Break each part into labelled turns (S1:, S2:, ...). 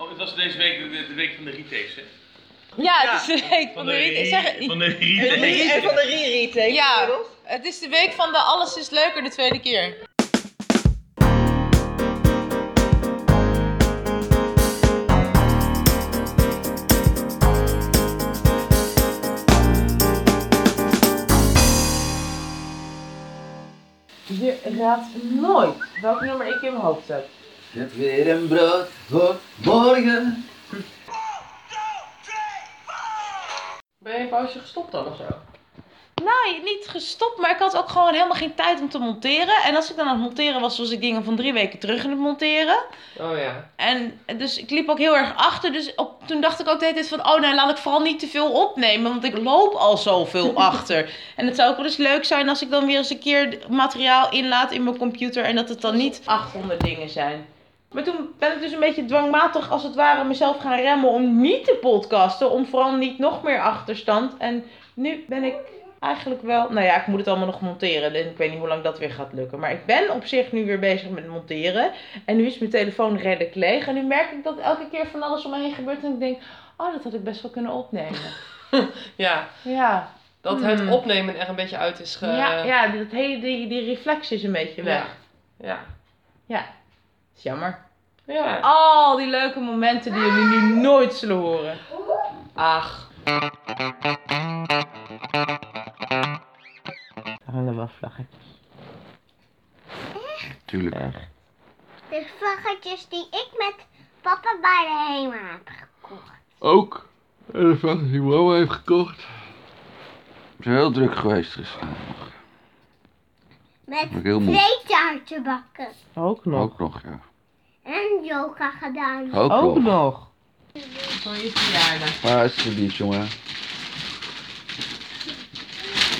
S1: Oh, Het was deze week de, de week van de retakes, hè?
S2: Ja,
S3: Ja.
S2: het is de week van de retake. Zeg-
S1: Van de
S3: Rie- En van de re-retake
S2: Ja.
S3: inmiddels.
S2: Het is de week van de alles is leuker de tweede keer. Je raadt nooit welk nummer ik in mijn hoofd heb.
S4: Ik heb weer een brood voor morgen.
S3: Ben je een pauze gestopt dan of zo?
S2: Nou, niet gestopt, maar ik had ook gewoon helemaal geen tijd om te monteren. En als ik dan aan het monteren was, was ik dingen van drie weken terug in het monteren.
S3: Oh ja.
S2: En dus ik liep ook heel erg achter. Dus op, toen dacht ik ook de hele tijd van... oh, nou laat ik vooral niet te veel opnemen... want ik loop al zoveel achter. En het zou ook wel eens leuk zijn als ik dan weer eens een keer materiaal inlaat in mijn computer... en dat het dan niet 800 dingen zijn. Maar toen ben ik dus een beetje dwangmatig als het ware mezelf gaan remmen... om niet te podcasten, om vooral niet nog meer achterstand. En nu ben ik eigenlijk wel... Nou ja, ik moet het allemaal nog monteren. En ik weet niet hoe lang dat weer gaat lukken. Maar ik ben op zich nu weer bezig met monteren... En nu is mijn telefoon redelijk leeg. En nu merk ik dat elke keer van alles om me heen gebeurt. En ik denk, oh, dat had ik best wel kunnen opnemen.
S3: Ja,
S2: Ja,
S3: dat het
S2: Hmm.
S3: opnemen er een beetje uit is ge...
S2: ja, ja dat eh, hele, die, die reflex is een beetje weg.
S3: Ja.
S2: is jammer.
S3: Ja.
S2: Al die leuke momenten die jullie nu nooit zullen horen.
S3: Ach.
S2: Daar hangen wel vlaggetjes.
S4: Tuurlijk.
S5: De vlaggetjes die ik met papa bij de HEMA heb gekocht.
S4: Ook. En van die mama heeft gekocht. Het is heel druk geweest dus, eh, gisteren.
S5: Met
S4: Ook heel moe.
S5: twee taartenbakken.
S2: Ook
S4: Ook nog, ja.
S5: En yoga gedaan.
S4: Ook, nog.
S2: nog.
S3: Voor je verjaardag.
S4: Maar alsjeblieft, jongen.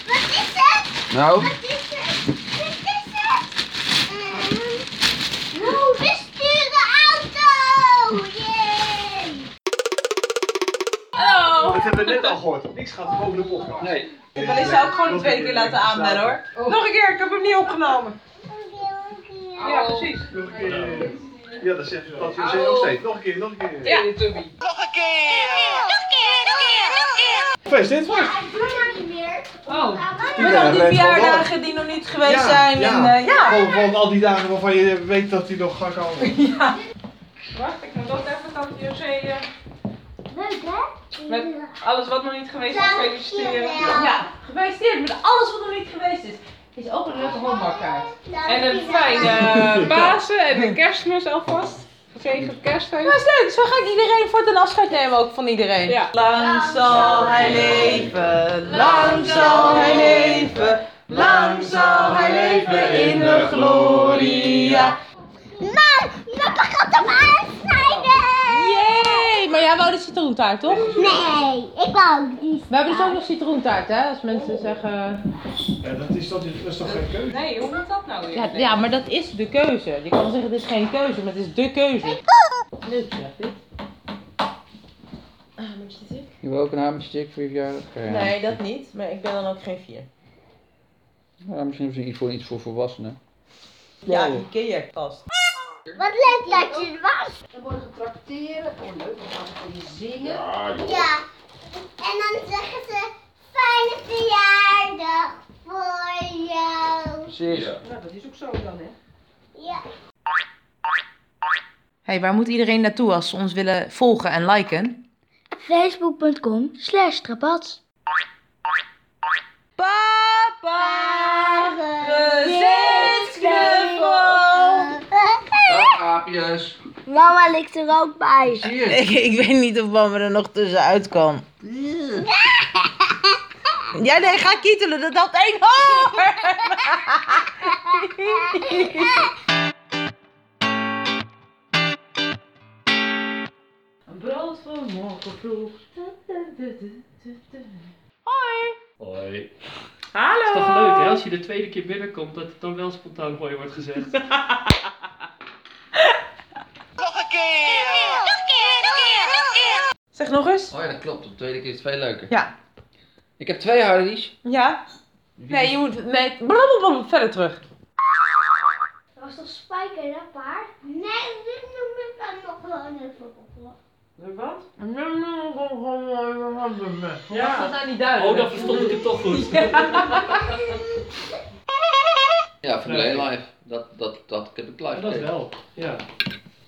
S5: Wat is het?
S4: Nou,
S5: Wat is het? Wat is het? Ehm, oh, we sturen auto! Yay!
S2: Hallo!
S6: Dat hebben we net al gehoord. Niks gaat boven de podcast.
S4: nee.
S2: Ik wil zou ook gewoon een tweede keer laten aanbellen hoor. Nog een keer, ik heb hem niet opgenomen. Ja, precies.
S6: Nog een keer. eh, Ja, dat zegt dat zegt ze nog steeds. Nog een keer, nog een keer.
S2: Ja.
S6: Feest dit was.
S5: Ik doe dat niet meer.
S2: Met
S6: Ja,
S2: al die
S6: dat is wel
S2: verjaardagen die nog niet geweest
S6: Ja,
S2: zijn.
S6: ja.
S2: En, eh, ja.
S6: Van, van al die dagen waarvan je weet dat die nog gaat komen.
S3: Wacht, ik moet ook even tante José... eh,
S5: Leuk hè?
S3: met alles wat nog niet geweest is feliciteren.
S2: Ja, gefeliciteerd met alles wat nog niet geweest is. Is ook een leuke honkbalkaart.
S3: En een fijne Pasen en een kerstmis alvast. Gezegend kerstfeest.
S2: Dat is leuk, zo ga ik Dus iedereen voor ten afscheid nemen ook van iedereen.
S3: Ja.
S2: Lang zal hij leven, lang zal hij leven, lang zal hij leven in de gloria.
S5: Maar papa gaat hem aansnijden!
S2: Yay! Maar jij wou de citroentaart toch?
S5: Nee, ik wou ook niet.
S2: We hebben dus ook nog citroentaart hè, als mensen zeggen...
S6: Ja, dat is toch, dat is toch geen keuze?
S3: Nee, hoe moet dat nou weer?
S2: Ja, ja, maar dat is de keuze. Je kan zeggen het is geen keuze, maar het is de keuze. Leuk zeg dit.
S4: Je wil ook een hamerstick voor je verjaardag? Ja.
S2: Nee, dat niet. Maar ik ben dan ook geen vier.
S4: Ja, misschien is er iets voor, iets voor volwassenen.
S2: Ja, Ikea past.
S5: Wat leuk dat je er was.
S7: Dan worden ze trakteren. Oh leuk, dan gaan ze voor je zingen.
S5: Ja. En dan zeggen ze fijne verjaardag voor jou.
S4: Precies.
S7: Nou, dat is ook zo dan, hè.
S5: Ja.
S2: hey, waar moet iedereen naartoe als ze ons willen volgen en liken?
S5: Facebook.com slash trapats.
S2: Papa! gezinsknuffel.
S4: Dag, aapjes.
S5: Mama ligt er ook bij.
S4: Zie je?
S2: Eh, Ik, ik weet niet of mama er nog tussenuit kan. Ja, nee, ga kietelen, dat had één hoor! Een brood van morgen vroeg. Hoi!
S8: Hoi.
S2: Hallo!
S8: Toch leuk hè, als je de tweede keer binnenkomt, dat het dan wel spontaan mooi wordt gezegd.
S2: Zeg nog eens.
S4: Oh ja, dat klopt. Op de tweede keer is het veel leuker.
S2: Ja.
S4: Ik heb twee Harleys.
S2: Ja? Nee, je moet... Nee, blablabla, verder terug.
S5: was toch Spijker, dat paard? Nee, dit noem ik dan nog wel even op.
S8: Wat?
S7: Was dat
S8: Ja.
S7: nou niet duidelijk?
S8: Oh, dan verstond ik het toch goed.
S9: Ja, voor de
S8: Nee.
S9: live. Dat, dat, dat heb ik live
S8: Ja, dat
S9: gekeken.
S8: wel. Ja.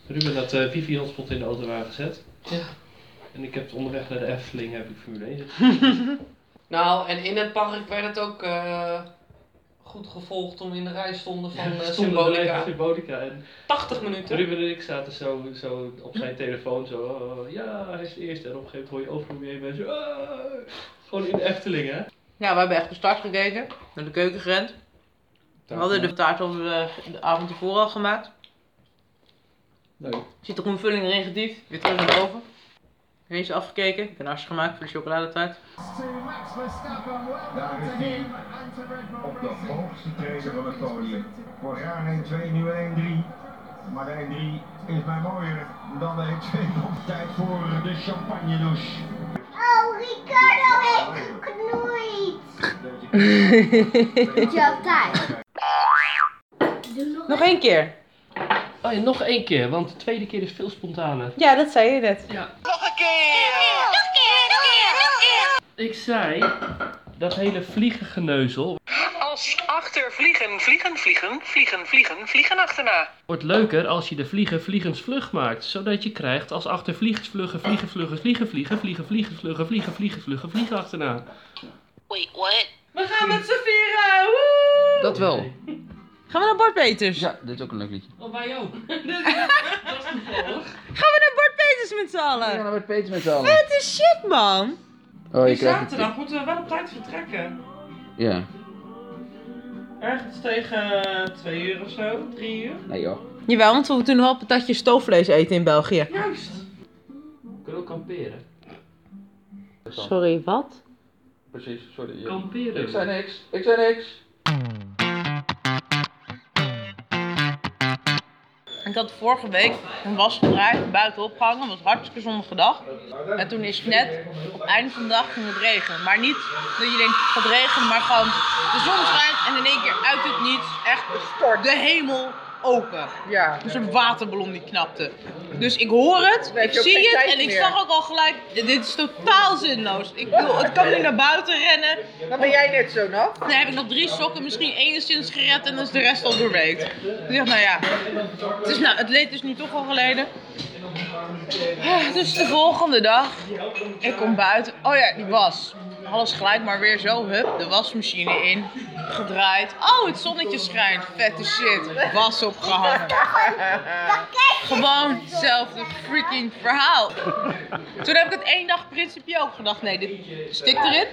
S8: Ruben had eh Vivi ons spot in de auto waren gezet.
S9: Ja.
S8: En ik heb onderweg naar de Efteling heb ik Formule 1 zitten.
S9: Nou, en in het park werd het ook eh, goed gevolgd toen we in de rij stonden van eh,
S8: Stonden
S9: Symbolica.
S8: erbij, Symbolica. En
S9: 80 minuten.
S8: Ruben en ik zaten zo, zo op zijn telefoon zo, oh, ja, hij is de eerste. En op een gegeven moment hoor je overal weer mensen, "Ah." gewoon in de Efteling hè.
S2: Ja, we hebben echt de start gekeken. Naar de keuken gerend. We hadden de taart al de, de avond tevoren al gemaakt.
S9: Leuk.
S2: Zit er een vulling erin gediefd. Weer terug naar boven. Ineens afgekeken. Ik heb een asje gemaakt voor de chocoladetaart.
S10: Daar is hij. Op de hoogste treden van het podium. Vorig jaar een 1-2, nu een 1-3. Maar de 1-3 is mij mooier dan de 1-2. Op tijd voor de champagne douche.
S5: Oh, Ricardo heeft geknoeid. Doet je altijd. Doe nog
S2: Nog één keer.
S8: Oh ja, nog één keer, want de tweede keer is veel spontaner.
S2: Ja, dat zei je net.
S5: Nog een keer, nog een keer, nog een keer.
S8: Ik zei, dat hele vliegengeneuzel
S11: Als achter vliegen, vliegen, vliegen, vliegen, vliegen, vliegen achterna.
S8: wordt leuker als je de vliegen vliegensvlug maakt. Zodat je krijgt als achter vliegensvluggen, vliegen, vluggen, vliegen, vliegen, vliegen, vliegen, vluggen, vliegen, vliegen, vluggen, vliegen achterna.
S11: Wait, what?
S3: We gaan met z'n vieren! Woe!
S9: Dat wel.
S2: Gaan we naar Bart Peters?
S9: Ja, dit is ook een leuk liedje.
S8: Oh, wij ook.
S2: Gaan we naar Bart Peters met z'n allen?
S9: dan werd Peter met z'n allen.
S2: Wat een shit, man.
S9: Oh, je krijgt het.
S11: Zaterdag moeten we wel op tijd vertrekken.
S9: Ja.
S11: Ergens tegen eh, twee uur of zo, drie uur.
S9: Nee joh.
S2: Jawel, want we moeten nu wel patatje stoofvlees eten in België.
S11: Juist.
S8: We kunnen ook kamperen.
S2: Sorry, wat?
S9: Precies, sorry.
S8: Kamperen.
S9: Ik zei niks. Ik zei niks.
S2: Ik had vorige week een was gedraaid, buiten opgehangen, was hartstikke zonnige dag. En toen is het net op het einde van de dag ging het regenen. Maar niet dat je denkt het gaat regenen, maar gewoon de zon schijnt en in één keer uit het niets echt de hemel open. Ja. Dus een waterballon die knapte. Dus ik hoor het,
S3: heb
S2: ik
S3: je ook geen
S2: zie het
S3: tijd
S2: en ik
S3: meer.
S2: zag ook al gelijk, dit is totaal zinloos. Ik bedoel, het kan nu naar buiten rennen.
S3: Dan ben jij net zo nat.
S2: Dan heb ik nog drie sokken misschien enigszins gered en dan is de rest al doorweekt. Dus ik dacht, nou ja, het, is nou, het leed is nu toch al geleden. Dus de volgende dag, ik kom buiten. Oh ja, die was. Alles gelijk, maar weer zo, hup, de wasmachine in. Gedraaid. Oh, het zonnetje schijnt. Vette shit. Was opgehangen. Gewoon hetzelfde freaking verhaal. Toen heb ik het één dag principe ook gedacht, nee, dit stikt erin.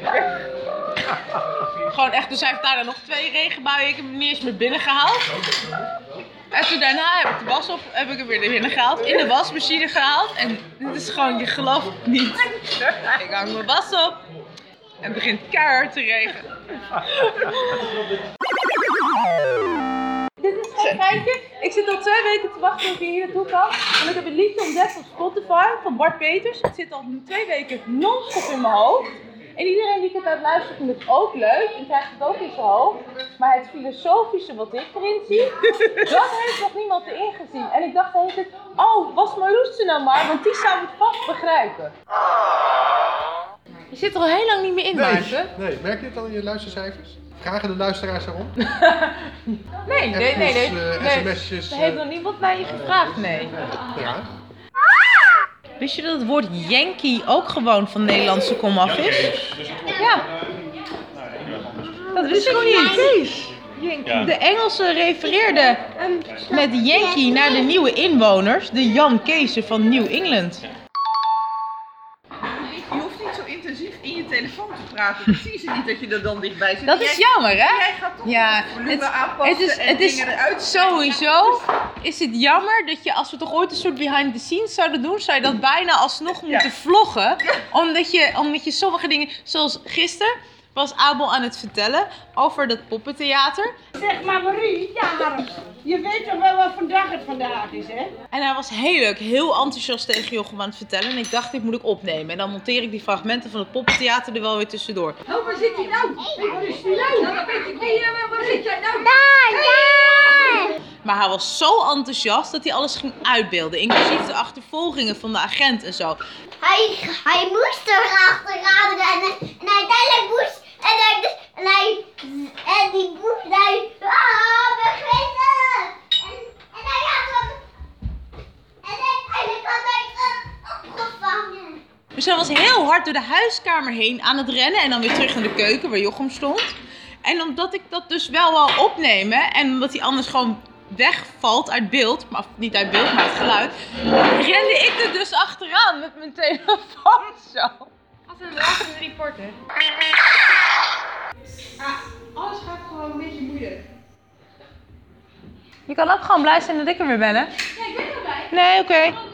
S2: Gewoon echt, dus hij heeft daarna nog twee regenbuien. Ik heb hem niet eens meer binnen gehaald. En toen daarna heb ik de was op, heb ik hem weer naar binnen gehaald. In de wasmachine gehaald. En dit is gewoon, je gelooft het niet. Ik hang mijn was op. En het begint keihard te regenen. Dit is zo'n geintje. Ik zit al twee weken te wachten tot ik hier naartoe kan. Want ik heb een liedje ontdekt op Spotify van Bart Peters. Het zit al nu twee weken non-stop in mijn hoofd. En iedereen die ik het aan het luisteren vindt het ook leuk en krijgt het ook in zijn hoofd. Maar het filosofische wat ik erin zie, dat heeft nog niemand erin gezien. En ik dacht de hele tijd, oh, was Marloes er nou maar, want die zou het vast begrijpen. Je zit er al heel lang niet meer in, Maarten.
S10: nee, merk je het al in je luistercijfers? Vragen de luisteraars daarom?
S2: Nee, nee, nee, nee.
S10: Appjes, eh,
S2: nee.
S10: sms'jes,
S2: Er heeft
S10: eh.
S2: nog niemand naar je gevraagd, nee.
S10: Ja.
S2: Wist je dat het woord Yankee ook gewoon van Nederlandse komaf is? Ja. Dat wist ik niet.
S1: Ja.
S2: De Engelsen refereerden met Yankee naar de nieuwe inwoners, de Jankezen van New England.
S11: Je hoeft niet zo intensief in je telefoon te praten. Ik zie ze niet dat je er dan dichtbij zit.
S2: Dat is jammer, hè?
S11: gaat toch
S2: Ja,
S11: het volume
S2: het-
S11: aanpassen
S2: het is-
S11: en
S2: het is
S11: dingen eruit
S2: Sowieso is het jammer dat je, als we toch ooit een soort behind the scenes zouden doen, zou je dat bijna alsnog moeten vloggen. Omdat je, omdat je sommige dingen, zoals gisteren was Abel aan het vertellen over dat poppentheater.
S3: Zeg maar Marie, ja, je weet toch wel wat vandaag het vandaag is, hè?
S2: En hij was heel leuk, heel enthousiast tegen Jochem aan het vertellen. En ik dacht, dit moet ik opnemen. En dan monteer ik die fragmenten van het poppentheater er wel weer tussendoor.
S7: Oh, waar zit hij nou? Waar is hij nou? Dat weet ik niet. Waar zit jij nou?
S5: Daar, daar.
S2: Maar hij was zo enthousiast dat hij alles ging uitbeelden. Inclusief de achtervolgingen van de agent en zo.
S5: Hij, hij moest erachteraan rennen. En uiteindelijk moest. En hij. En, hij, en die moest. Hij. Ah, vergeten! En, en hij had hem. En uiteindelijk had hij hem opgevangen.
S2: Dus hij was heel hard door de huiskamer heen aan het rennen. En dan weer terug in de keuken waar Jochem stond. En omdat ik dat dus wel wou opnemen. En omdat hij anders gewoon wegvalt uit beeld. Maar of niet uit beeld, maar uit geluid. Rende ik er dus achteraan met mijn telefoon zo.
S12: Wat een lachende reporter.
S3: Ah, alles gaat gewoon een beetje moeilijk.
S2: Je kan ook gewoon blij zijn dat ik er weer ben, hè?
S3: Ja, ik ben wel blij.
S2: Nee, oké.
S3: Eigenlijk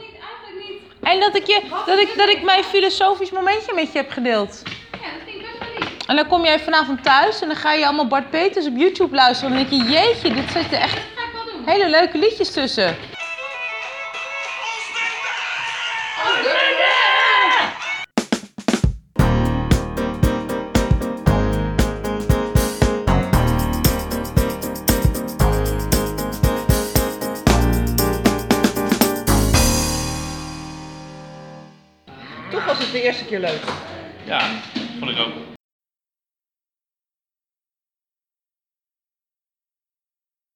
S3: niet.
S2: En dat ik, je, dat, ik, dat ik mijn filosofisch momentje met je heb gedeeld.
S3: Ja, dat vind ik best wel lief.
S2: En dan kom jij vanavond thuis en dan ga je allemaal Bart Peters op YouTube luisteren. En dan denk je, jeetje, dit zitten echt hele leuke liedjes tussen.
S11: Toch was het de eerste keer leuk.
S1: Ja, vond ik ook.